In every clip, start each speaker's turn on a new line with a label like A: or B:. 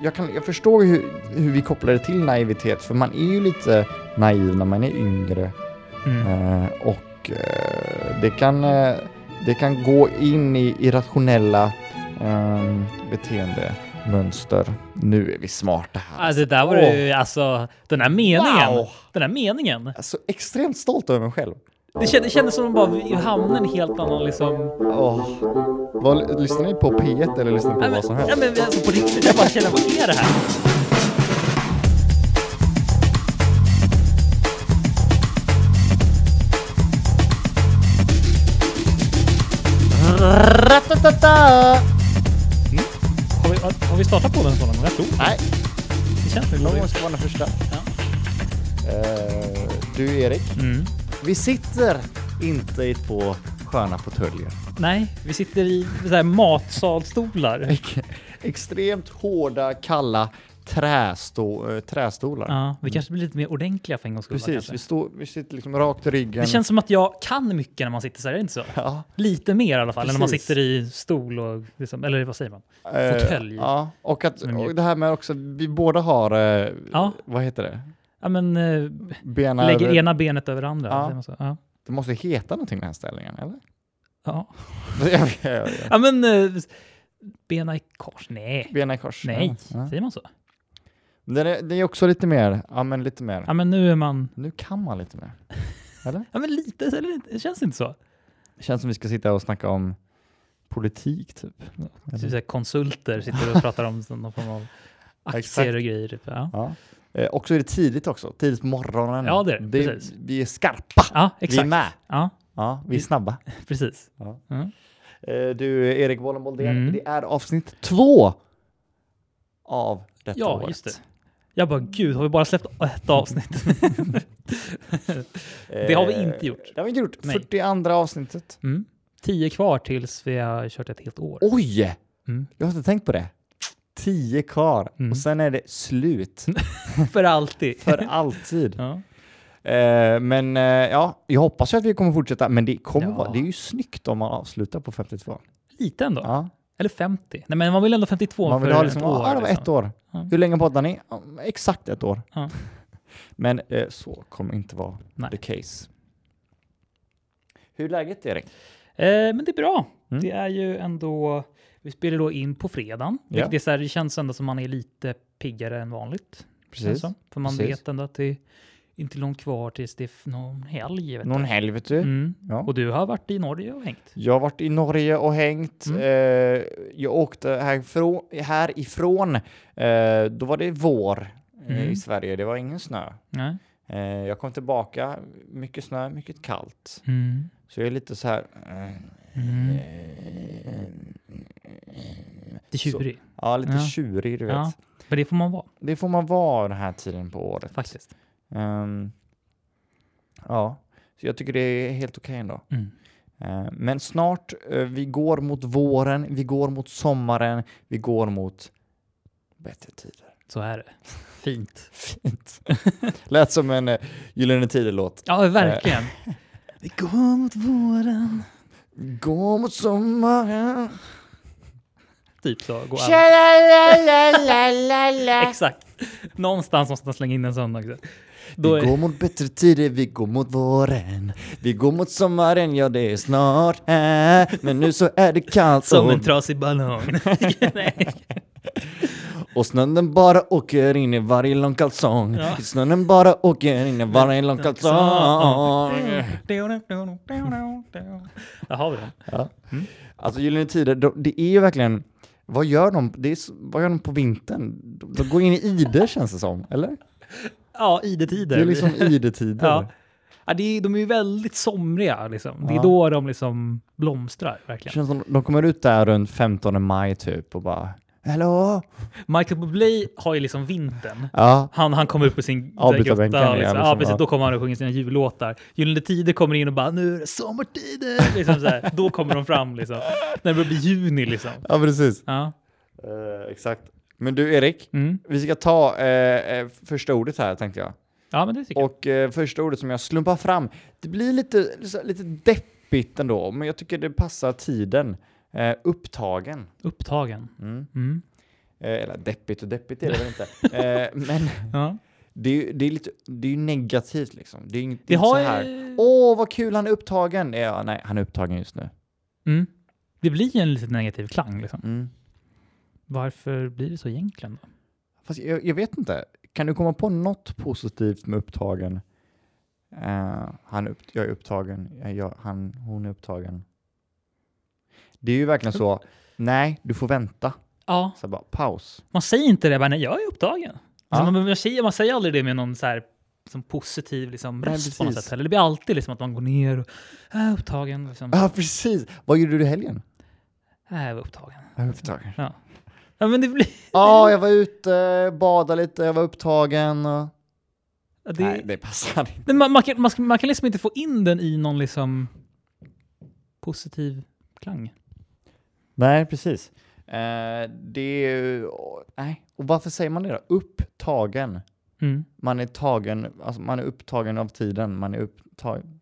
A: Jag, kan, jag förstår hur, hur vi kopplar det till naivitet, för man är ju lite naiv när man är yngre.
B: Mm.
A: Eh, och eh, det, kan, eh, det kan gå in i irrationella eh, beteendemönster. Nu är vi smarta här.
B: Ah, det där var
A: Åh.
B: ju alltså den här meningen.
A: Wow!
B: Den här meningen.
A: Alltså extremt stolt över mig själv.
B: Det kändes, det kändes som att man bara vi hamnade i en helt annan liksom...
A: Åh. Vad, lyssnar ni på P1 eller lyssnar ni på
B: Nej men,
A: vad som helst?
B: nej, men alltså på riktigt, jag bara känner vad är det här?
A: Ratatata!
B: Har vi, har, har vi startat på den sådana gånger? Jag tror
A: Nej,
B: det. känns lite
A: det
B: logiskt.
A: måste vara den första.
B: Ja.
A: Eh, du Erik,
B: Mm.
A: vi sitter inte i två sköna fåtöljer.
B: Nej, vi sitter i så här matsalstolar.
A: Extremt hårda, kalla trästo, eh, trästolar.
B: Ja, vi kanske blir lite mer ordentliga för en gångs skull. va,
A: Precis,
B: kanske.
A: vi, står, vi sitter liksom rakt i ryggen.
B: Det känns som att jag kan mycket när man sitter så här, är det inte så?
A: Ja,
B: Lite mer i alla fall än när man
A: Precis.
B: sitter i stol och liksom, eller vad säger man?
A: eh,
B: Fåtölj. Ja.
A: Ja, och, att,
B: Men mjuk.
A: och det här med också, vi båda har, eh,
B: Ja.
A: vad heter det?
B: men eh,
A: Bena
B: lägger
A: över.
B: ena benet över andra.
A: Ja.
B: säger man så? Ja.
A: Det måste heta någonting den här ställningen, eller?
B: Ja.
A: Jag vet- jag vet.
B: ja, men eh, bena i kors. Nej,
A: Bena i kors.
B: nej,
A: Ja.
B: säger man så?
A: Den, är, den är också lite mer, ja men lite mer.
B: Ja, men nu är man.
A: Nu kan man lite mer.
B: Ja, men lite eller inte- det känns inte så.
A: Det känns som vi ska sitta och snacka om politik typ.
B: Typ så här konsulter sitter och pratar om sån- någon form av aktier
A: Exakt.
B: och grejer. Typ. Ja.
A: Ja. Eh, och så är det tidigt också, tidigt på morgonen.
B: Ja, det är det. Precis.
A: Vi är skarpa,
B: ja,
A: vi är
B: exakt.
A: med,
B: Ja,
A: ja, vi är
B: Vi-
A: snabba.
B: precis.
A: Eh, du Erik Bollen Boldén,
B: Mm.
A: det är avsnitt två av detta
B: Ja,
A: året.
B: just det. Jag bara, gud, har vi bara släppt ett avsnitt? Det har vi inte gjort.
A: Eh, Det har vi inte gjort.
B: Nej.
A: 42 avsnittet.
B: Mm. Tio kvar tills vi har kört ett helt år.
A: Oj!
B: Mm.
A: Jag har inte tänkt på det. Tio kvar och sen är det slut
B: För alltid.
A: för alltid.
B: Ja.
A: Eh, men eh, ja, jag hoppas ju att vi kommer fortsätta. Men det kommer
B: Ja.
A: vara, det är ju snyggt om man avslutar på 52.
B: Lite ändå.
A: Ja.
B: Eller 50. Nej, men man vill ändå 52
A: Man vill
B: för
A: ha liksom,
B: ett år.
A: ja det var ett år.
B: Ja.
A: Hur länge poddar ni? Ja, Exakt ett år.
B: Ja.
A: Men eh, så kommer inte vara
B: Nej.
A: the case. Hur är läget Erik?
B: Eh, men det är bra.
A: Mm.
B: Det är ju ändå... Vi spelar då in på fredagen.
A: Ja.
B: vilket Det, är så här, det känns ändå som man är lite piggare än vanligt. känns det som. För man
A: Precis.
B: vet ändå att det är inte långt kvar tills det är f- någon helg. Vet
A: Någon
B: du.
A: helg vet du.
B: Mm.
A: Ja.
B: Och du har varit i Norge och hängt.
A: Jag har varit i Norge och hängt.
B: Mm.
A: Eh, jag åkte härifrån. härifrån. Eh, då var det vår eh,
B: Mm.
A: i Sverige. Det var ingen snö.
B: Nej.
A: Eh, jag kom tillbaka. Mycket snö, mycket kallt.
B: Mm.
A: Så jag är lite så här. eh,
B: Mm. Det är
A: Så-
B: tjurig.
A: Ja, lite
B: Ja.
A: tjurig du vet.
B: Ja. Men det får man vara
A: Det får man vara den här tiden på året.
B: faktiskt.
A: Ehm, ja, så jag tycker det är helt okej ändå.
B: Mm.
A: Eh, Men snart, eh, vi går mot våren, vi går mot sommaren, vi går mot bättre tider.
B: Så är det. Fint.
A: Fint. Lät som en eh, Gyllene Tider-låt.
B: Ja, verkligen. Vi går mot våren.
A: Gå mot sommaren.
B: Typ så. Går alla.
A: Tja-la-la-la-la-la.
B: Exakt. Någonstans måste man slänga in en sån också. Då
A: Vi
B: är,
A: går mot bättre tider, vi går mot våren. Vi går mot sommaren, ja det är snart här. Men nu så är det kallt
B: som
A: och,
B: en trasig ballong. Nej.
A: och snön den bara åker in i varje lång kalsong.
B: Ja.
A: Snön den bara åker in i varje lång
B: Mm.
A: kalsong.
B: Där har vi den.
A: Ja. Alltså Gyllene Tider, de- det är ju verkligen, vad gör de, det är, s- vad gör de på vintern? De, de går in i ide känns det som, eller?
B: Ja, idetider.
A: Det är liksom idetider.
B: ja. Ja, det är, de är ju väldigt somriga. Liksom. Det är
A: Ja.
B: då de liksom blomstrar.
A: Det
B: verkligen.
A: känns som de kommer ut där runt 15 maj typ och bara Hallå!
B: Michael Bublé har ju liksom vintern.
A: Ja,
B: Han, han kommer upp på sin där
A: Avbytarbänken,
B: grotta.
A: ja,
B: Och liksom, ja,
A: liksom,
B: precis,
A: ja.
B: Då kommer han och sjunger sina jullåtar. Gyllene Tider kommer in och bara nu är det sommartider. Liksom så här. Då kommer de fram. Liksom. När det börjar bli juni. Liksom.
A: ja precis.
B: Ja.
A: Eh, exakt. Men du Erik,
B: Mm.
A: vi ska ta eh, eh, första ordet här tänkte jag.
B: ja, men det tycker jag.
A: Och eh, första ordet som jag slumpar fram, det blir lite, så- lite deppigt ändå, men jag tycker det passar tiden. Eh, upptagen.
B: Upptagen.
A: Mm.
B: Mm.
A: Eh, eller deppigt och deppigt är det väl inte. Eh, men
B: Ja.
A: det är ju det är lite, det är ju negativt liksom. Det är ju inte,
B: Det
A: det är inte
B: har...
A: så här. Åh, vad kul, han är upptagen. Ja, nej, han är upptagen just nu.
B: Mm. Det blir ju en lite negativ klang. Liksom.
A: Mm.
B: Varför blir det så egentligen? Då?
A: Fast jag, jag vet inte. Kan du komma på något positivt med upptagen? Eh, han är upp, jag är upptagen. Jag, jag, han, hon är upptagen. Det är ju verkligen så. Nej, du får vänta.
B: Ja,
A: Så bara paus.
B: man säger inte det. Bara, nej, jag är upptagen. Alltså,
A: Ja.
B: man, man, säger, man säger aldrig det med någon så här, som positiv liksom,
A: Nej,
B: röst på något
A: precis.
B: sätt. Eller det blir alltid liksom, att man går ner och är upptagen. Liksom.
A: Ja, ah, precis. Vad gjorde du i helgen?
B: Äh, Jag är upptagen.
A: Jag är upptagen.
B: Ja, men det blir...
A: Ja, jag var ute, badade lite, jag var upptagen. Och...
B: ja, Det,
A: Nej, det passar inte.
B: Men man, man, kan, man, ska- man kan liksom inte få in den i någon liksom positiv klang.
A: Nej, precis. Eh, det är ju... åh, Nej, och varför säger man det då? Upptagen.
B: Mm.
A: Man är tagen, alltså man är upptagen av tiden, man är upptagen.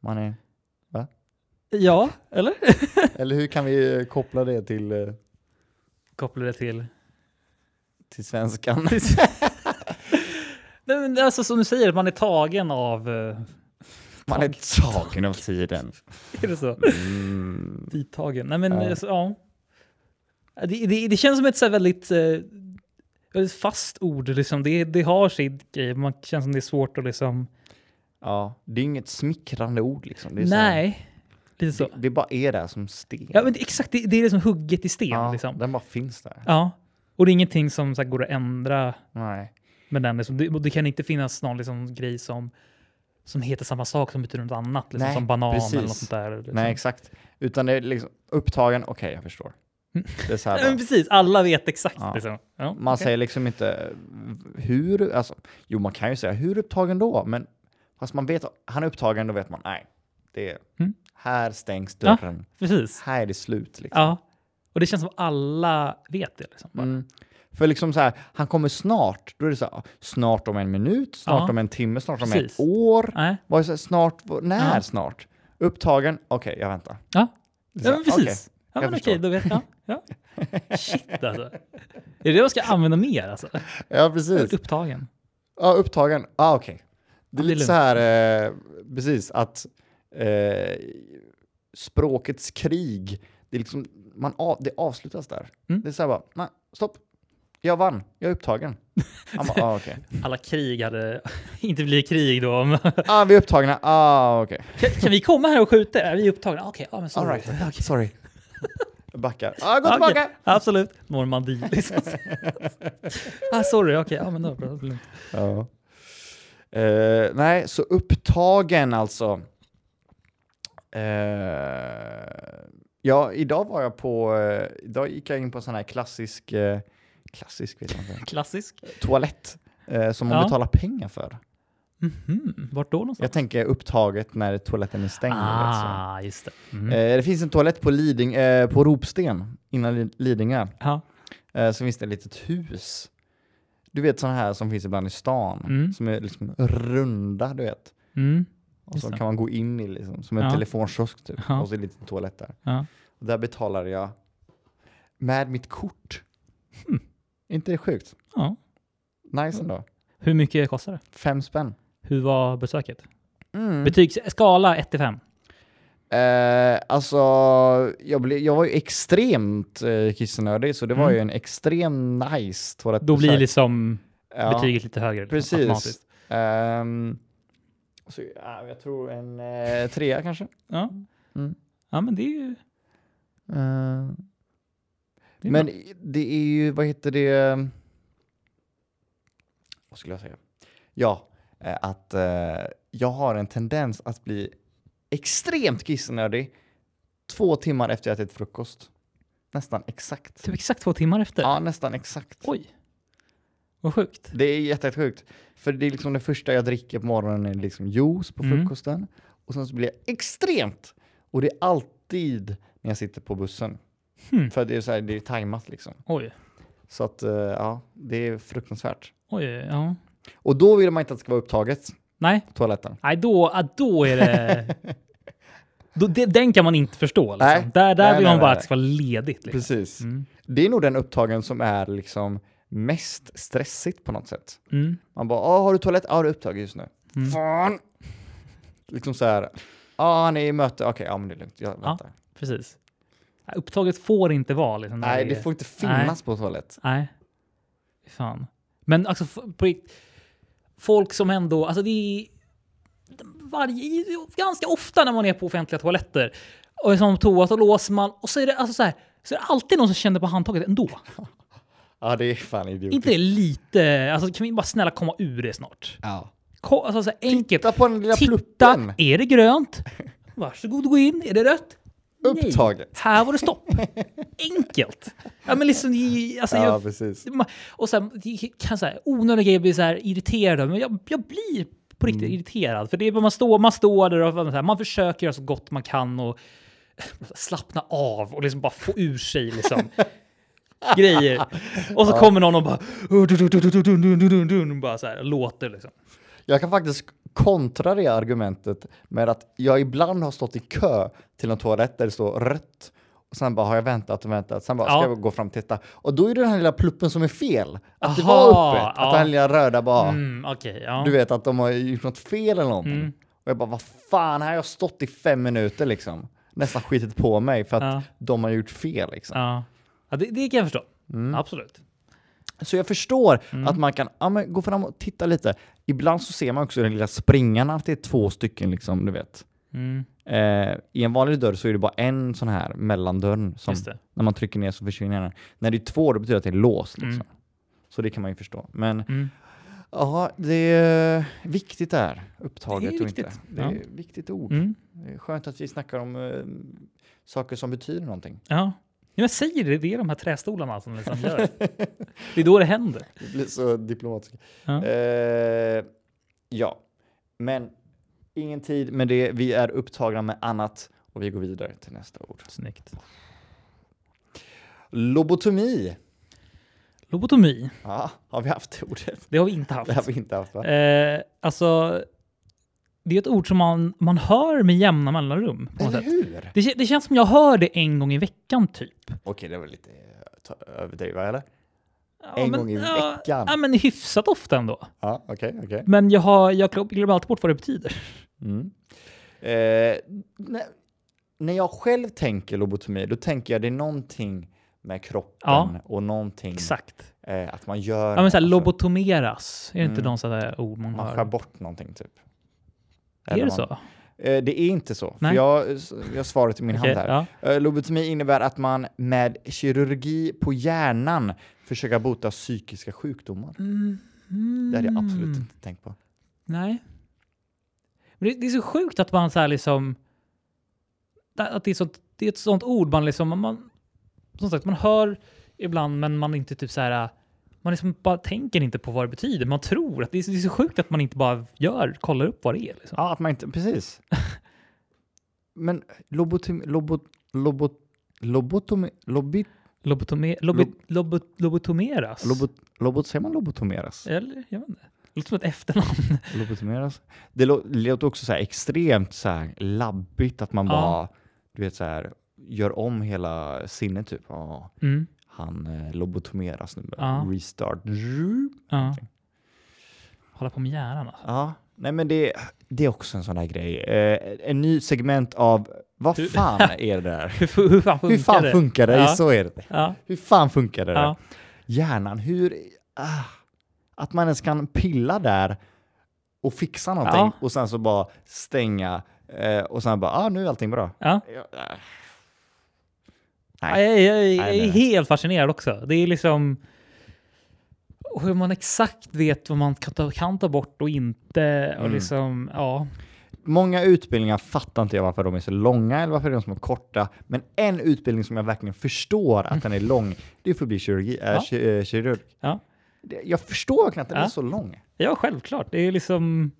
A: Man är,
B: Ja, eller?
A: eller hur kan vi eh, koppla det till, eh,
B: Kopplar det till...
A: till svenskan?
B: Nej, men alltså som du säger, att man är tagen av... eh,
A: Man är tagen av tiden.
B: Är det så?
A: Mm.
B: Tidtagen. Nej, men
A: Ja.
B: alltså, ja. Det, det, det känns som ett så här väldigt, eh, väldigt fast ord. Liksom. Det, det har sitt grej. Man känns som det är svårt att liksom...
A: Ja, det är inget smickrande ord liksom. Det är så här-
B: Nej, lite så.
A: Det, det bara är där som sten.
B: Ja, men det, exakt, det, det är liksom hugget i sten.
A: Ja,
B: Liksom.
A: Den bara finns där.
B: Ja. Och det är ingenting som så här, går att ändra
A: Nej.
B: med den. Liksom. Det, och det kan inte finnas någon liksom, grej som, som heter samma sak som betyder något annat. Liksom,
A: Nej,
B: som banan eller
A: precis.
B: något sånt där. Liksom.
A: Nej, exakt. Utan det är liksom upptagen, okej, jag förstår. Det är så
B: Ja,
A: här
B: Mm. men
A: bara.
B: precis, alla vet exakt.
A: Ja.
B: Liksom. Ja,
A: Man
B: okej.
A: säger liksom inte hur, alltså, jo man kan ju säga hur upptagen då, men fast man vet, han är upptagen, då vet man, nej, det är,
B: Mm.
A: här stängs
B: Ja.
A: dörren,
B: Precis.
A: här är det slut. Liksom.
B: Ja. Och det känns som alla vet det. Liksom.
A: Mm. För liksom så här, han kommer snart, då är det så här, snart om en minut, snart
B: Ja.
A: om en timme, snart om
B: Precis.
A: ett år.
B: Nej.
A: Vad är så här, snart, vad- när
B: Ja.
A: snart? Upptagen, okej, jag väntar.
B: Ja.
A: Det är så
B: ja,
A: här,
B: men precis. Ja,
A: jag
B: men okej,
A: förstår.
B: då vet jag. Ja. Shit alltså. Är det det man ska använda mer? Alltså?
A: okej. Ja, precis.
B: Upptagen.
A: Ja, upptagen. Ja, ah, okej. Det
B: Ja,
A: är
B: det är
A: lite så här, eh, precis, att eh, språkets krig, det, är liksom, man av, det avslutas där.
B: Mm.
A: Det är så här bara, nej, stopp. Jag vann, jag är upptagen. Han bara, ah, okej.
B: Alla krig hade inte blivit krig då. om-
A: Ah, vi är upptagna. Ah, okej.
B: kan, kan vi komma här och skjuta? Är vi upptagna? Okej, ja, men
A: All
B: sorry.
A: right. Sorry. Jag backar. Ah, gå
B: Ja, okej.
A: tillbaka!
B: Absolut. Normandie. Liksom. ah, sorry, okej. Ja, men då, bra, det blir lugnt.
A: Ja. Eh, nej, så upptagen alltså. Eh, ja, idag var jag på, eh, idag gick jag in på en sån här klassisk, eh, klassisk vet jag inte,
B: Klassisk.
A: toalett eh, som man
B: Ja.
A: betalar pengar för.
B: Mhm. Vart då någonstans?
A: Jag tänker upptaget när toaletten är stängd. du vet, så.
B: ah, just det. Mm.
A: alltså. Eh, det finns en toalett på, Liding, eh, på Ropsten innan Lid- Lidingö,
B: ja.
A: eh, så finns det ett litet hus. Du vet sådana här som finns ibland i stan,
B: Mm.
A: som är liksom runda, du vet.
B: Mm.
A: Och
B: Just
A: så
B: det.
A: kan man gå in i liksom, som en
B: Ja.
A: telefonkiosk typ.
B: Ja.
A: Och så är det lite toalett där.
B: Ja.
A: Och där betalar jag med mitt kort.
B: Hmm.
A: inte det sjukt?
B: ja.
A: Nice ändå.
B: Hur mycket kostar det?
A: Fem spänn.
B: Hur var besöket?
A: Mm.
B: Betygs, skala 1 till 5.
A: Eh, alltså, jag, blev, jag var ju extremt eh, kissnödig, så det var
B: Mm.
A: ju en extrem nice toalettbesök.
B: Då blir liksom
A: Ja,
B: betyget lite högre. Liksom,
A: Precis.
B: automatiskt.
A: Ehm, så, ja, jag tror en eh, trea kanske.
B: Ja.
A: Mm.
B: ja, men det är ju...
A: Eh,
B: Det är
A: Men i- det är ju, vad heter det? Vad skulle jag säga? Ja, eh, att eh, jag har en tendens att bli extremt kissnödig två timmar efter jag ätit frukost. Nästan exakt.
B: Typ exakt två timmar efter.
A: Ja, nästan exakt.
B: Oj. Vad sjukt.
A: Det är jätte- jättesjukt. För det är liksom det första jag dricker på morgonen är liksom juice på
B: Mm.
A: frukosten. Och sen så blir jag extremt. Och det är alltid när jag sitter på bussen.
B: Hmm.
A: För det är så här, det är tajmat liksom.
B: Oj.
A: Så att eh, ja, det är fruktansvärt.
B: Oj, ja.
A: Och då vill man inte att det ska vara upptaget
B: Nej,
A: på toaletten.
B: Nej då, ah, då är det... Då, det, den kan man inte förstå. Liksom.
A: Nej.
B: Där, där
A: Nej,
B: vill
A: nej,
B: man bara
A: nej,
B: att det ska vara ledigt. Liksom.
A: Precis.
B: Mm.
A: Det är nog den upptagen som är liksom mest stressigt på något sätt.
B: Mm.
A: Man bara, ah, har du toalett? Ja, ah, du är upptagen just nu.
B: Mm.
A: Fan! Liksom så här, ja, ah, han är i möte. Okej, ja, men det är lugnt. Jag
B: Ja,
A: väntar.
B: Precis. Nej, Upptaget får inte vara liksom. när
A: Nej,
B: det
A: det
B: är-
A: får inte finnas på toalett.
B: Nej. Fan. Men alltså, f- på rikt- folk som ändå... Alltså det är varje, ganska ofta när man är på offentliga toaletter och är som toa så låser man och så är det alltså så här. Så är det alltid någon som känner på handtaget ändå.
A: Ja, det är fan idiotiskt.
B: Inte det lite... Alltså kan vi bara snälla komma ur det snart?
A: Ja.
B: Ko- Alltså så här enkelt.
A: Titta på den lilla pluppen.
B: Titta, är det grönt? Varsågod gå in. Är det rött? Nej.
A: Upptaget.
B: Här var det stopp. Enkelt. Ja men liksom... i- Alltså,
A: Ja,
B: jag,
A: precis.
B: Ma- Och sen det kan så här, onödiga grejer bli så här irriterad över, men jag, jag blir på
A: Mm.
B: riktigt irriterad. För det är bara man står, man står där och så här, man försöker göra så gott man kan och slappna av och liksom bara få ur sig liksom grejer. Och så kommer någon och bara, bara så här, låter liksom.
A: Jag kan faktiskt kontra det argumentet med att jag ibland har stått i kö till en toalett där det står rött. Och sen bara har jag väntat och väntat. Sen bara
B: Ja.
A: ska jag gå fram och titta. Och då är det den här lilla pluppen som är fel. Att det
B: Aha,
A: var öppet. Att
B: ja.
A: den här lilla röda bara.
B: Mm, Okej, ja. Mm.
A: Du vet att de har gjort något fel eller någonting. Och jag bara, vad fan, här har jag stått i fem minuter liksom. Nästan skitit på mig för att
B: Ja.
A: de har gjort fel liksom.
B: ja. ja det, det kan jag förstå.
A: Mm.
B: Absolut.
A: Så jag förstår
B: Mm.
A: att man kan ja, men gå fram och titta lite. Ibland så ser man också den lilla springan att det är två stycken liksom, du vet.
B: Mm,
A: Eh, I en vanlig dörr så är det bara en sån här mellandörren som
B: just det.
A: när man trycker ner så försvinner den. När det är två då betyder det att det är låst liksom.
B: Mm.
A: Så det kan man ju förstå. Men
B: Mm.
A: ja, det är viktigt det här. Upptaget
B: Det är
A: och
B: viktigt.
A: inte. Det är ett viktigt ord.
B: Mm,
A: Det är Skönt att vi snackar om eh, saker som betyder någonting.
B: ja. Ja, men säger det, det är de här trästolarna som liksom gör det. Det är då det händer.
A: Det blir så diplomatiska.
B: Ja.
A: Eh, ja, men ingen tid med det. Vi är upptagna med annat och vi går vidare till nästa ord.
B: Snyggt.
A: Lobotomi.
B: Lobotomi,
A: Ja, har vi haft det ordet?
B: det har vi inte haft.
A: Det har vi inte haft va?
B: Eh, alltså, det är ett ord som man, man hör med jämna mellanrum. På något
A: Eller
B: sätt.
A: hur?
B: Det, kä- det känns som jag hör det en gång i veckan typ.
A: Okej, det var lite eh, ta- överdriva eller?
B: Ja,
A: En gång i
B: ja,
A: veckan?
B: Ja, men hyfsat ofta ändå.
A: Ja, okej, okej.
B: Men jag, har, jag glöm- glömmer alltid bort vad det betyder.
A: Mm. Eh, när, när jag själv tänker lobotomi, då tänker jag det är någonting med kroppen
B: Ja.
A: och någonting
B: Exakt.
A: eh, att man gör...
B: Ja, men så här,
A: alltså,
B: lobotomeras, är det inte
A: Mm.
B: de sådana där ord man
A: man skär
B: hör?
A: bort någonting typ.
B: Är
A: Eller
B: det
A: man-
B: så?
A: Eh, det är inte så,
B: Nej.
A: för jag, jag har svaret i min
B: Okej,
A: hand här.
B: ja.
A: Eh, lobotomi innebär att man med kirurgi på hjärnan försöker bota psykiska sjukdomar.
B: Mm.
A: Det hade jag absolut inte tänkt på.
B: Nej. Men det, det är så sjukt att man så här liksom... Att det är, sånt, det är ett sånt ord man liksom... Man, som sagt, man hör ibland men man inte typ så här... Man liksom bara tänker inte på vad det betyder. Man tror att det är, så- det är så sjukt att man inte bara gör, kollar upp vad det är. Liksom.
A: Ja, att man inte, precis. Men lobotomi, lobot, lobot, lobotomi, lobit,
B: Lobotome, lobi, lobo, lobotomeras?
A: lobot, lobot, säger man lobotomeras?
B: Eller? Jag vet inte. Det låter som ett efternamn.
A: Lobotomeras. Det lå- låter också så här extremt så här labbigt att man
B: Ja.
A: bara, du vet så här, gör om hela sinnet typ. Ja,
B: Mm.
A: han eh, lobotomeras nu.
B: Ja.
A: Restart.
B: Ja. Hålla på med hjärnan alltså.
A: Ja, nej men det, det är också en sån här grej. Eh, en ny segment av, vad
B: Hur-
A: fan är det där?
B: Hur, fu- hur fan funkar
A: Hur fan
B: det?
A: funkar det?
B: Ja.
A: Så är det.
B: Ja.
A: Hur fan funkar det? där?
B: Ja.
A: Hjärnan, hur... Ah, att man ens kan pilla där och fixa någonting
B: Ja.
A: och sen så bara stänga eh, och sen bara, ah, nu är allting bra.
B: Ja.
A: Ja, ah.
B: Nej. Jag, jag, jag,
A: Nej,
B: är
A: nej.
B: helt fascinerad också. Det är liksom och hur man exakt vet vad man kan ta, kan ta bort och inte. Och
A: Mm.
B: liksom, ja.
A: Många utbildningar fattar inte jag varför de är så långa eller varför de är så korta. Men en utbildning som jag verkligen förstår att den är lång, det är för att bli kirurgi, äh,
B: Mm. Ja.
A: ki- eh, kirurg.
B: ja.
A: Det- Jag förstår knappt att den
B: Ja.
A: är så lång.
B: Ja, självklart. Det är liksom...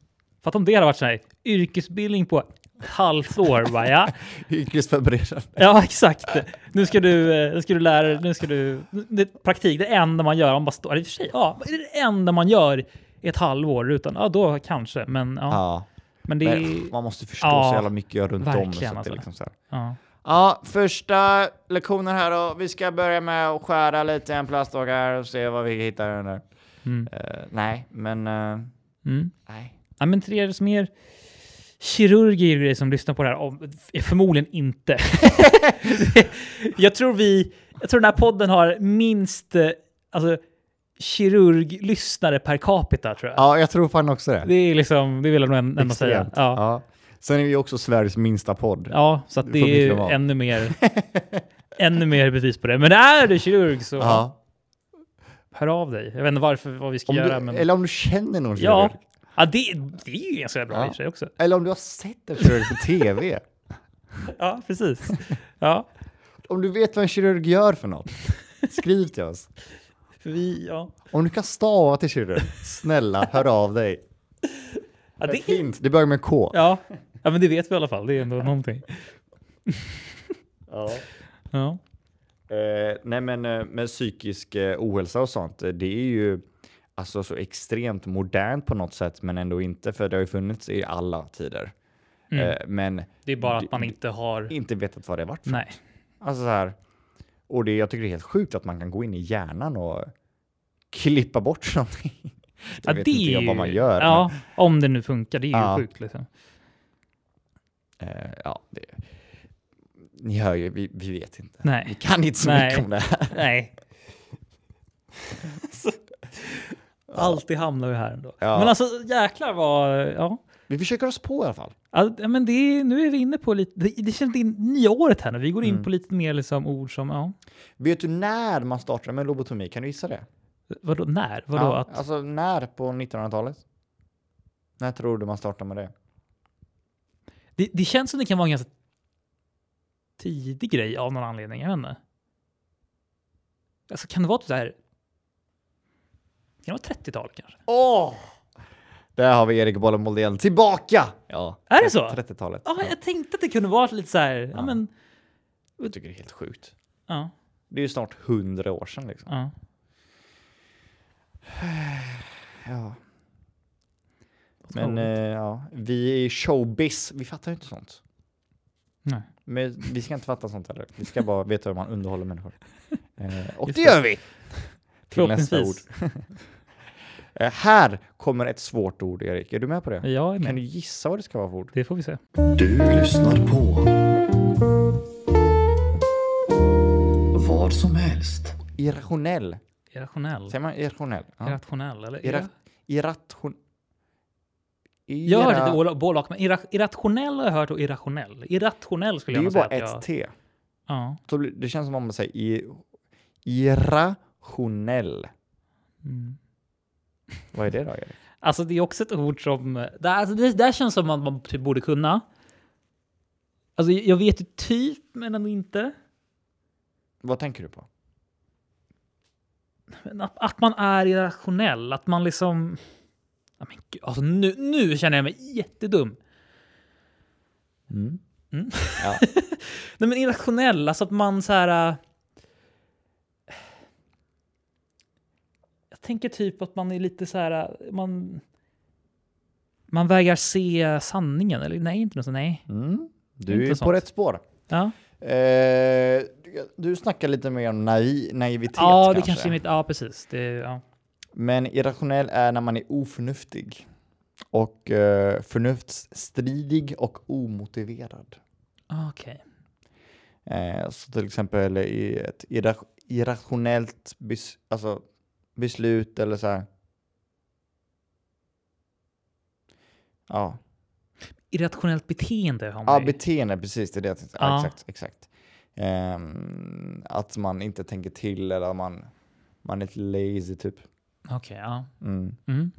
B: Fatta om det hade varit så här yrkesbildning på ett halvt år. Bara, ja.
A: Yrkesförberedande.
B: ja, exakt. Nu ska du, eh, nu ska du lära dig, nu ska du... Det, är praktik, det enda man gör, man bara står... I och för sig, ja, det är det enda man gör i ett halvår utan, ja då kanske, men ja.
A: Ja.
B: Men det
A: Men
B: är...
A: man måste förstå
B: Ja,
A: så jävla mycket runt om. Så
B: verkligen,
A: att det
B: alltså.
A: är liksom så här.
B: Ja.
A: Ja, första lektionen här då. Vi ska börja med att skära lite i en plastdocka här och se vad vi hittar i den där.
B: Mm.
A: Eh, nej, men... eh,
B: Mm.
A: nej.
B: Ja, men till er som är kirurger och grejer som lyssnar på det här, om- är förmodligen inte. jag tror vi, jag tror den här podden har minst eh, alltså, kirurglyssnare per capita tror jag.
A: Ja, jag tror fan också det.
B: Det är liksom, det vill jag nog ändå säga.
A: Extremt.
B: Ja.
A: Ja. Sen är vi också Sveriges minsta podd.
B: ja, så att
A: Det
B: det
A: får vi
B: är ju
A: inte vara.
B: ännu mer, ännu mer bevis på det. Men är du kirurg så
A: Ja.
B: hör av dig. Jag vet inte varför, vad vi ska
A: Om du,
B: göra, men
A: Eller om du känner någon
B: ja.
A: kirurg.
B: Ja, det, det är ju ganska bra i
A: Ja.
B: och för sig också.
A: Eller om du har sett en kirurg på tv.
B: Ja, precis. Ja,
A: Om du vet vad en kirurg gör för något. Skriv till oss.
B: för vi, ja.
A: Om du kan stava till kirurg, snälla hör av dig.
B: Ja,
A: Det,
B: det är,
A: Hint, det börjar med K.
B: ja. ja, men det vet vi i alla fall. Det är ändå någonting.
A: Ja.
B: Ja.
A: Eh, nej men eh, med psykisk eh, ohälsa och sånt, eh, det är ju alltså så extremt modernt på något sätt men ändå inte för det har ju funnits i alla tider.
B: Mm.
A: Eh, men
B: Det är bara att
A: det-
B: man inte har...
A: inte vetat vad det har varit. för.
B: Nej.
A: Alltså så här, och det, jag tycker det är helt sjukt att man kan gå in i hjärnan och klippa bort någonting. Jag vet inte jag
B: är
A: vad man
B: ju-
A: gör.
B: Ja, om det nu funkar. Det är ju
A: Ja.
B: sjukt liksom.
A: Men, eh, ja, det, ni hör ju, vi, vi vet inte. Vi
B: Nej.
A: kan inte så
B: Nej.
A: mycket om det här.
B: Nej. Så- Alltid hamnar vi här ändå.
A: Ja.
B: Men alltså jäklar vad... Ja.
A: Vi försöker oss på i alla fall.
B: Ja, ja, men det är, nu är vi inne på lite... Det, det känns in nya året här nu. Vi går in
A: Mm.
B: på lite mer liksom ord som... Ja.
A: Vet du när man startade med lobotomi? Kan du gissa det?
B: Vadå när? Vadå
A: ja,
B: att...
A: Alltså när på 1900-talet? När tror du man startar med det?
B: Det, det känns som det kan vara en ganska tidig grej av någon anledning. Jag vet inte. Alltså kan det vara typ så här... Kan det vara 30-tal kanske?
A: Åh! Där har vi Erik Bollen Moldén tillbaka! Ja.
B: Är det så?
A: 30-talet.
B: Ja, jag tänkte att det kunde vara lite så här... Ja,
A: Ja.
B: men...
A: Jag tycker det är helt sjukt.
B: Ja,
A: Det är ju snart 100 år sedan liksom.
B: ja.
A: Ja. Men eh, ja, vi är i showbiz. Vi fattar ju inte sånt.
B: Nej.
A: Men vi ska inte fatta sånt heller. Vi ska bara veta hur man underhåller människor. Eh, och
B: Just
A: det
B: det.
A: gör vi! Till nästa ord.
B: Förhoppningsvis.
A: Eh, här kommer ett svårt ord, Erik. Är du med på det?
B: Jag är
A: Kan
B: med.
A: du gissa vad det ska vara för ord?
B: Det får vi se.
C: Du lyssnar på vad som helst.
A: Irrationell.
B: Irrationell.
A: Säger man irrationell? Ja.
B: Irrationell, eller?
A: Irra- Irration...
B: jag har
A: Irra-
B: hört lite både och, men irra- irrationell har jag hört och irrationell. Irrationell
A: Det
B: skulle
A: är
B: jag
A: ju
B: nog säga
A: bara
B: att
A: ett
B: jag...
A: T.
B: Ja.
A: Så blir- Det känns som om man säger i- irrationell.
B: Mm.
A: Vad är det då, Erik?
B: Alltså det är också ett ord som... Det, alltså, det där känns som att man typ borde kunna. Alltså jag vet ju typ, men ändå inte.
A: Vad tänker du på?
B: Men att, att man är irrationell, att man liksom... Ja, men gud, alltså nu, nu känner jag mig jättedum. Mm.
A: Ja.
B: Nej men irrationell, alltså att man så här... äh, Jag tänker typ att man är lite så här... äh, Man, man vägrar se sanningen, eller nej, inte något sånt, nej.
A: Mm. Du är
B: Intressant.
A: på rätt spår.
B: Ja.
A: Eh, du- du snackar lite mer om naiv, naivitet
B: Ja, det
A: kanske.
B: kanske är mitt... Ja, precis. Det, ja.
A: Men irrationell är när man är oförnuftig. Och eh, förnuftsstridig och omotiverad.
B: Ah, Okej.
A: Eh, så till exempel i ett irra- irrationellt bes- alltså beslut eller så här. Ja,
B: Irrationellt beteende har
A: ah,
B: man ju.
A: beteende, precis det är det jag tänkte. Ja,
B: Ja.
A: exakt, exakt. Ehm, att man inte tänker till eller man, man är lite lazy typ.
B: Okej, ja.
A: Mm.
B: Mm.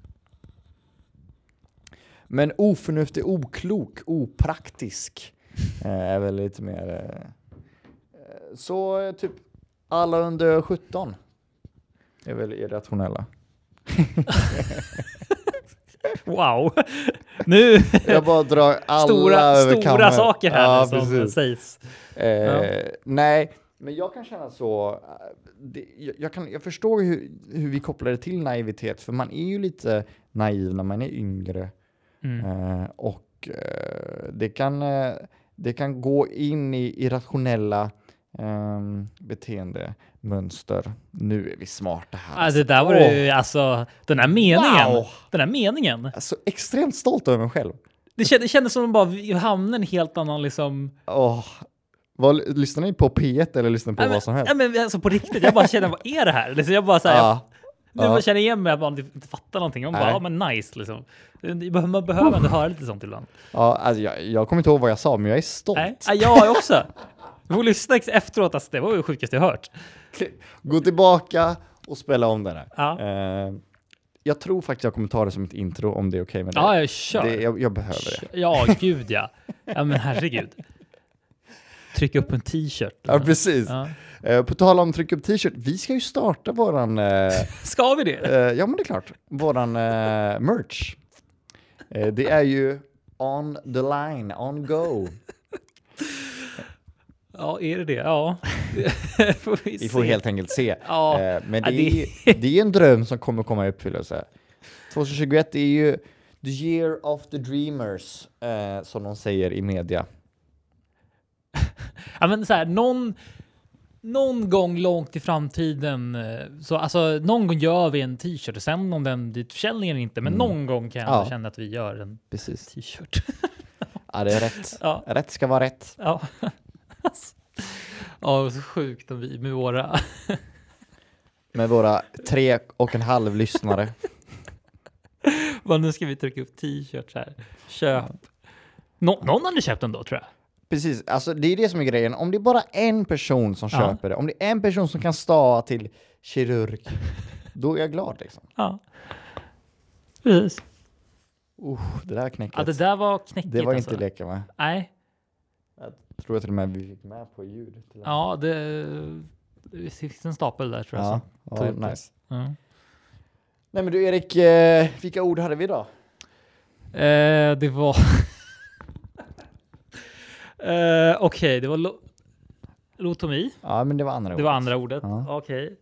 A: Men oförnuftig, oklok, opraktisk eh, är väl lite mer... Eh, eh, så eh, typ alla under 17 är väl irrationella.
B: Wow! nu
A: Jag bara drar alla
B: stora,
A: över
B: stora
A: kammen.
B: saker här
A: ja,
B: nu som
A: precis.
B: sägs.
A: Eh, Nej, men jag kan känna så. eh, Det, jag, jag, kan, jag förstår hur, hur vi kopplar det till naivitet, för man är ju lite naiv när man är yngre.
B: Mm.
A: Eh, och eh, det, kan, eh, det kan gå in i irrationella ehm, beteendemönster. Nu är vi smarta här.
B: Alltså, det där var
A: Åh.
B: ju, alltså, den här meningen.
A: Wow.
B: Den här meningen.
A: Jag är Så extremt stolt över mig själv.
B: Det, kändes, det kändes som att de bara vi hamnade i en helt annan liksom...
A: Åh, vad, lyssnar ni på P1 eller lyssnar ni på
B: Nej, men-
A: vad som helst?
B: nej, men alltså på riktigt, jag bara känner vad är det här? Liksom, jag bara så här, jag,
A: Ja,
B: nu bara
A: ja.
B: känner igen mig att man inte fattar någonting. Man bara,
A: Nej.
B: ja men nice liksom. Det- Man behöver inte höra lite sånt ibland.
A: ja, alltså, jag, jag kommer inte ihåg vad jag sa, men jag är stolt.
B: Nej, ja, jag också. Du får lyssna ex- efteråt, alltså, det var ju det sjukaste jag hört.
A: Gå tillbaka och spela om den här.
B: Ja.
A: Eh, jag tror faktiskt jag kommer ta det som ett intro om det är okej med dig.
B: Ja, jag kör.
A: det, jag, jag behöver det.
B: Ja, gud ja. Ja, men herregud. Trycka upp en t-shirt.
A: Ja, precis.
B: Ja.
A: Eh, på tal om tryck upp t-shirt, vi ska ju starta våran, eh,
B: Ska vi det?
A: eh, ja men det är klart, våran eh, merch. Eh, det är ju on the line, on go.
B: Ja, är det det? Ja. får vi,
A: Vi får
B: se.
A: helt enkelt se.
B: Ja,
A: Eh, men
B: ja,
A: det är, ju- det är en dröm som kommer komma i uppfyllelse. 2021 är ju the year of the dreamers, eh, som de säger i media.
B: Ja, men så här, någon, någon gång långt i framtiden, eh, så, alltså, någon gång gör vi en t-shirt. Sen om den blir till försäljning eller inte, men någon gång kan jag
A: Mm. Ja.
B: ändå känna att vi gör en
A: Precis.
B: t-shirt.
A: Ja, det är rätt.
B: Ja.
A: Rätt ska vara rätt.
B: Ja. ja, så sjukt om vi med våra...
A: Med våra tre och en halv lyssnare.
B: Vad, nu ska vi trycka upp t-shirts här. Köp. Nå, någon hade köpt den då tror jag.
A: Precis, alltså det är det som är grejen. Om det är bara en person som
B: Ja.
A: köper det, om det är en person som kan stava till kirurg, då är jag glad liksom.
B: Ja. Precis.
A: Usch, det där
B: Ja,
A: knäcket.
B: det
A: det,
B: där var knäckigt.
A: var
B: alltså.
A: inte leka va?
B: Nej.
A: Jag tror till och med vi fick med på ljud. till och med.
B: Ja, det, det finns en stapel där tror jag.
A: ja,
B: som-
A: ja,
B: tog upp det.
A: nice.
B: Mm.
A: Nej men du Erik, eh, vilka ord hade vi idag?
B: Eh, det var... eh, Okej, det var lo- lotomi.
A: Ja men det var andra
B: Det var andra ordet.
A: Ja.
B: Okej.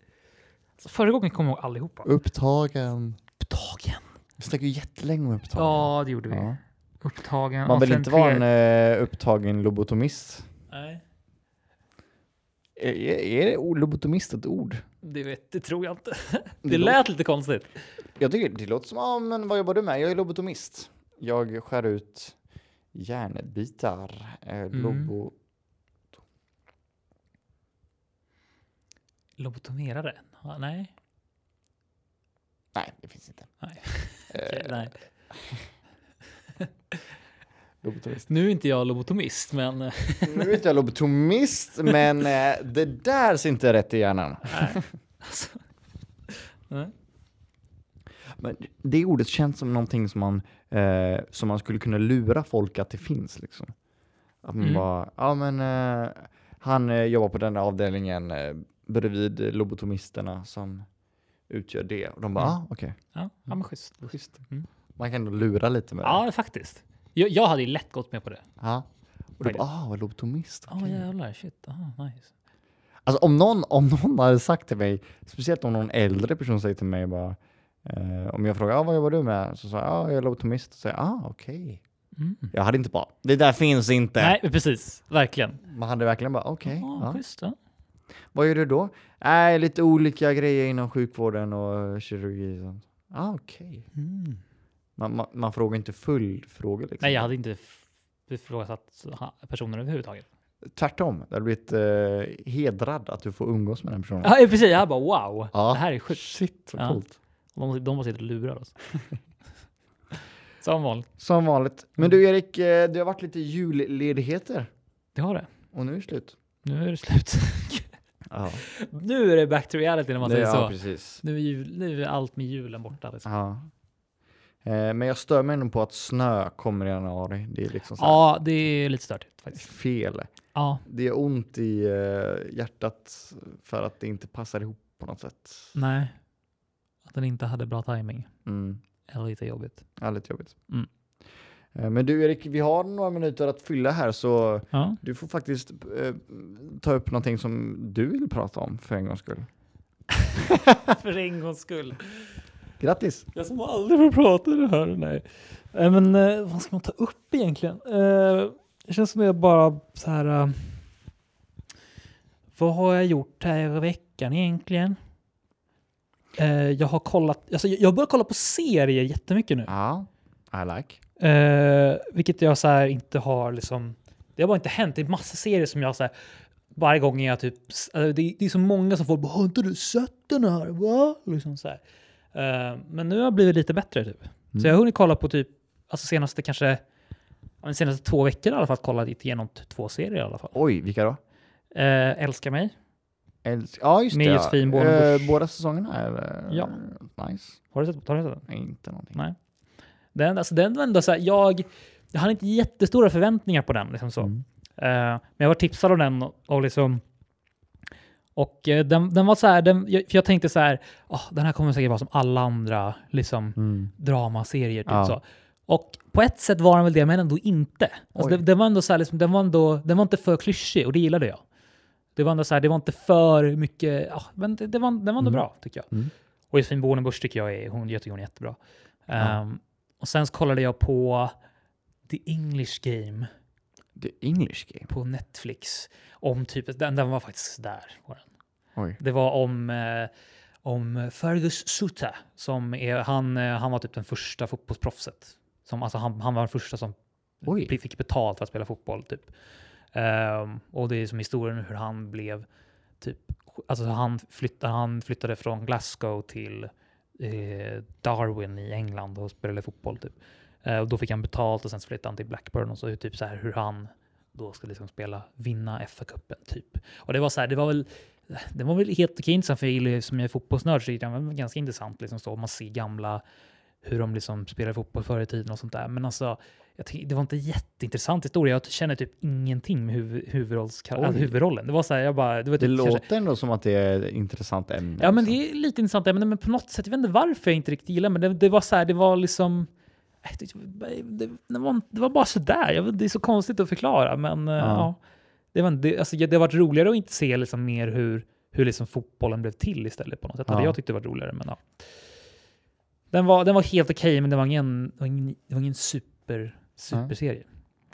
B: Så förra gången kom jag ihåg allihopa.
A: Upptagen.
B: Upptagen.
A: Vi snackade ju jättelänge om upptagen.
B: Ja, det gjorde vi.
A: Ja.
B: Upptagen.
A: Man
B: och
A: vill
B: sen
A: inte vara
B: tre-
A: en eh, upptagen lobotomist.
B: Nej,
A: Är, är, är o- lobotomist ett ord?
B: det, vet, det tror jag inte.
A: Det
B: Det lät lite konstigt.
A: Jag tycker det låter som, ah, men vad jobbar du med? Jag är lobotomist. Jag skär ut järnbitar. Eh, Lobo...
B: Lobotomerare? Ja, nej.
A: Nej, det finns inte.
B: Nej. Okej, nej.
A: Lobotomist.
B: Nu är inte jag lobotomist, men... eh,
A: Nu är inte jag lobotomist, men eh, det där ser inte rätt i hjärnan.
B: Nej. Alltså, nej.
A: Men det ordet känns som någonting som man, eh, som man skulle kunna lura folk att det finns. Liksom. Att man
B: Mm.
A: bara, ja men eh, han eh, jobbar på den här avdelningen eh, bredvid lobotomisterna som utgör det. Och de bara,
B: Mm.
A: ah, okej.
B: Ja, ja, men schysst. schysst. Mm.
A: Man kan ändå lura lite med det.
B: Ja, faktiskt. Jag, jag hade ju lätt gått med på det.
A: Ja. Och du
B: Vad är
A: bara, ah, vad lobotomist.
B: Ja,
A: okej."
B: jävlar. Shit. Aha, nice.
A: Alltså om någon, om någon hade sagt till mig, speciellt om någon äldre person säger till mig bara, eh, om jag frågar, ah, vad jobbar du med? Så sa jag, ah, jag är lobotomist. Så säger jag, ah, okej.
B: Mm.
A: Jag hade inte bara, det där finns inte.
B: Nej, men precis. Verkligen.
A: Man hade verkligen bara, okej.
B: Ja,
A: ja.
B: schysst. Ja.
A: Vad gör du då? Äh, lite olika grejer inom sjukvården och kirurgi. och sånt. Ah, okej.
B: Mm.
A: Man, man, man frågar inte full fråga liksom.
B: Nej, jag hade inte f- ifrågasatt ha- personen överhuvudtaget.
A: Tvärtom, det hade blivit eh, hedrad att du får umgås med den personen.
B: Ja, precis. Jag bara wow.
A: Ja.
B: Det här är sjukt.
A: Shit, vad
B: Ja.
A: coolt.
B: De, de bara sitter och lurar oss. Som vanligt.
A: Som vanligt. Men du Erik, eh, det har varit lite julledigheter
B: Det har det.
A: och nu är det slut.
B: Nu är det slut.
A: Ja,
B: nu är det back to reality när man
A: det,
B: säger
A: ja
B: så.
A: precis.
B: Nu är, jul, nu är allt med julen borta. Liksom.
A: Ja. Eh, men jag stör mig ändå på att snö kommer i januari. Det är liksom så här
B: Ja, det är lite störigt faktiskt.
A: fel.
B: Ja,
A: Det gör ont i eh, hjärtat för att det inte passar ihop på något sätt.
B: nej. Att den inte hade bra timing
A: Mm.
B: är lite jobbigt.
A: Ja, lite jobbigt.
B: Mm.
A: Eh, Men du Erik, vi har några minuter att fylla här så
B: Ja.
A: du får faktiskt eh, ta upp någonting som du vill prata om för en gångs skull.
B: För en gångs skull.
A: Grattis!
B: Jag som aldrig får prata i det här. Nej. Eh, Men eh, vad ska man ta upp egentligen? Eh, det känns som jag bara så här. eh, vad har jag gjort här i veckan egentligen? Eh, jag har kollat. Alltså, jag jag börjar kolla på serier jättemycket nu,
A: Ja, I like.
B: eh, vilket jag så här inte har liksom. Det har bara inte hänt. Det är massa serier som jag så här. Varje gång jag typ, s- alltså, det, är- det är så många som får bara, har inte du sett den här? Va? Liksom så här. Eh, men nu har jag blivit lite bättre typ. Så jag har hunnit kolla på typ, alltså senaste kanske, ja, men senaste två veckor i alla fall, kollat igenom t- två serier i alla fall.
A: Oj, vilka då?
B: Eh, älskar mig,
A: Älsk- ja, just
B: Med
A: det.
B: Josefin
A: ja.
B: Bornebusch.
A: Eh, båda säsongerna? Eller?
B: Ja.
A: Nice.
B: har du sett, har du sett den?
A: Nej, inte någonting.
B: Nej. Den, alltså den var ändå så här, jag, jag hade inte jättestora förväntningar på den liksom så.
A: Mm.
B: Eh, men jag var tipsad om den och, och liksom, och eh, den, den var så här, den, jag, för jag tänkte så här, "Ah, den här kommer säkert vara som alla andra liksom
A: Mm.
B: dramaserier. Typ
A: Ja.
B: så. Och på ett sätt var den väl det, men ändå inte. Alltså,
A: Oj.
B: det, det var ändå så här, liksom, den, var ändå, den var inte för klyschig och det gillade jag. Det var ändå så här, det var inte för mycket, ja, men det, det var, den var ändå
A: Mm.
B: bra tycker jag.
A: Mm.
B: Och Josefin Bornebusch tycker jag är, hon, jag tycker hon är jättebra.
A: Ja.
B: Ehm, och sen så kollade jag på The English Game
A: The English Game?
B: på Netflix. Om typ, den, den var faktiskt där. Var den.
A: Oj.
B: Det var om, eh, om Fergus Suta. Som är, han, eh, han var typ den första fotbollsproffset. Som, alltså han, han var den första som
A: Oj.
B: bli- fick betalt för att spela fotboll. Typ. Ehm, och det är som historien hur han blev typ, alltså han, flyttade, han flyttade från Glasgow till eh, Darwin i England och spelade fotboll. Typ. Eh, och då fick han betalt och sen så flyttade han till Blackburn och så typ så här hur han då ska liksom spela, vinna FA-cupen typ. Och det var så här, det var väl det var väl helt okej intressant för jag gillar ju- som jag är fotbollsnörd så tyckte jag det var ganska intressant liksom så man ser gamla hur de liksom spelade fotboll förr i tiden och sånt där. Men alltså, jag tycker, det var inte jätteintressant historia. Jag känner typ ingenting med huv, huvudrollskar-
A: Oj.
B: alltså huvudrollen. Det var så här, jag bara... Det, var
A: Det
B: typ kanske-
A: låter ändå som att det är ett intressant ämne.
B: Ja, men
A: liksom.
B: det är lite intressant ämne, men på något sätt, jag vet inte varför jag inte riktigt gillar men det, det var så här, det var liksom... jag tyckte- Det, det, var, det var bara sådär. Jag vet, Det är så konstigt att förklara, men eh,
A: Ja.
B: ja. det, var, det, alltså, det har varit roligare att inte se liksom mer hur, hur liksom fotbollen blev till istället på något sätt. Hade
A: Ja.
B: jag tyckte det var roligare, men ja. Den var, den var helt okej, men det var ingen, det var ingen, det var ingen super, superserie.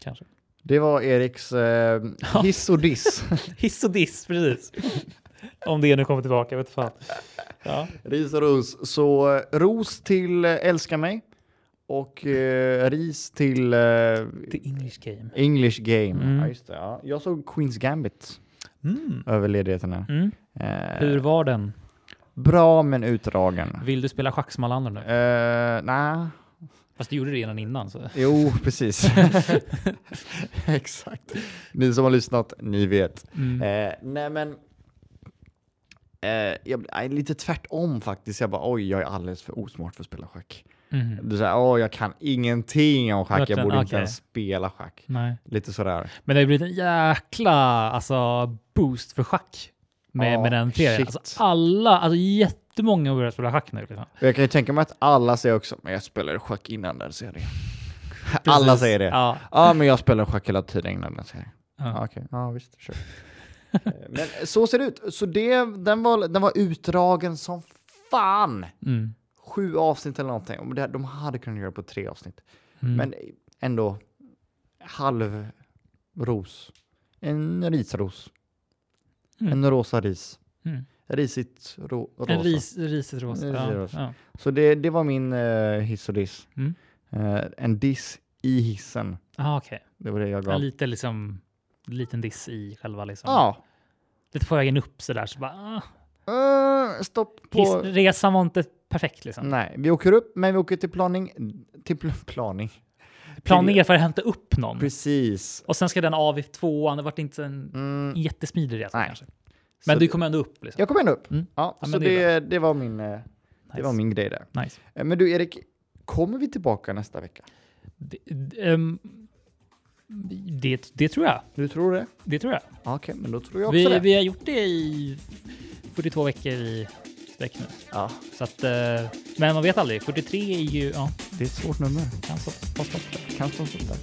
B: Kanske.
A: det var Eriks eh, hiss och diss.
B: Hiss och diss, precis. Om det nu kommer tillbaka, vet fan. Ja.
A: Ris och ros. Så eh, ros till eh, Älska mig och eh, ris till eh,
B: The English Game.
A: English Game.
B: Mm.
A: Ja, just det, ja. Jag såg Queens Gambit
B: Mm.
A: över ledigheterna.
B: Mm.
A: Eh,
B: Hur var den?
A: Bra men utdragen.
B: Vill du spela schack som alla andra nu?
A: Eh, Nej,
B: Fast du gjorde det redan innan. Så.
A: jo precis. Exakt. Ni som har lyssnat, ni vet.
B: Mm.
A: Eh, nej men, eh, jag, nej, lite tvärtom faktiskt. Jag bara oj, jag är alldeles för osmart för att spela schack.
B: Mhm.
A: Du säger åh, jag kan ingenting om schack, jag
B: Verkligen,
A: borde inte
B: okej.
A: ens spela schack.
B: Nej.
A: Lite sådär.
B: Men det har blivit en jäkla alltså, boost för schack med,
A: Ja,
B: med den serien.
A: shit.
B: Alltså, alla, alltså jättemånga har börjat spela schack nu. Liksom.
A: Och jag kan ju tänka mig att alla säger också, men jag spelade schack innan den serien. alla
B: Precis.
A: säger det. Ja.
B: Ja.
A: men jag spelar schack hela tiden innan den serien.
B: Ja.
A: Ja, okej. Ja, visst. Sure. Eh, men så ser det ut. Så det, den, var, den var utdragen som fan.
B: Mm.
A: Sju avsnitt eller någonting. Om det- De hade kunnat göra på tre avsnitt.
B: Mm.
A: Men ändå, halv ros. En risros.
B: Mm.
A: En rosa ris.
B: Mm.
A: Risigt ro, rosa.
B: En ris, risigt rosa.
A: En risig
B: Ja.
A: rosa.
B: Ja.
A: Så det, det var min eh, hiss och diss.
B: Mm.
A: Eh, en diss i hissen.
B: Ah, okej.
A: Det var det jag gav.
B: En lite, liksom, liten diss i själva. Liksom.
A: Ja.
B: Lite på vägen upp sådär. Så bara, ah,
A: Eh, stopp på... Mm.
B: hiss, resan var inte perfekt. Liksom.
A: Nej, vi åker upp, men vi åker till planing. Till pl- planing.
B: Planera för att hämta upp någon.
A: Precis.
B: Och sen ska den av i tvåan. Det vart inte en
A: Mm.
B: jättesmidig resa
A: Nej.
B: kanske.
A: Så
B: Men du
A: det-
B: kommer ändå upp. Liksom.
A: Jag kom ändå upp.
B: Mm.
A: Ja,
B: Ja,
A: så
B: men
A: det,
B: det
A: det,
B: är
A: var min, eh, det
B: Nice.
A: var min grej där.
B: Nice.
A: Eh, Men du Erik, kommer vi tillbaka nästa vecka?
B: Det, d- ehm, det, det tror jag.
A: Du tror det?
B: Det tror jag.
A: Ja, Okej, men då tror jag också
B: Vi,
A: det.
B: vi har gjort det i 42 veckor i sträck nu.
A: Ja,
B: Så att, eh, men man vet aldrig. 43 är ju... Ja,
A: det är ett svårt nummer.
B: kan så, kan så.
A: Kan stå sånt där.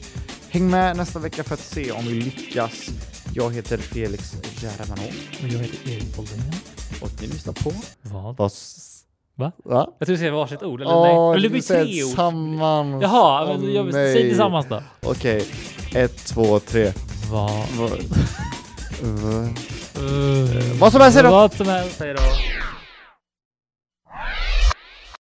A: Häng med nästa vecka för att se om vi lyckas. Jag heter Felix Germanå
B: Och jag heter Erik Bolden.
A: och ni lyssnar på
B: Vad
A: Vad Va?
B: Jag tror du säger varsitt ord, eller
A: Åh,
B: nej? Eller det
A: du
B: blir
A: säger
B: tre ord.
A: Sammans.
B: Jaha,
A: Åh,
B: men jag,
A: nej.
B: säg tillsammans då.
A: Okej, ett, två, tre.
B: Vad?
A: Va- va-
B: eh,
A: Vad som helst, säg då.
B: Vad som helst, säg då.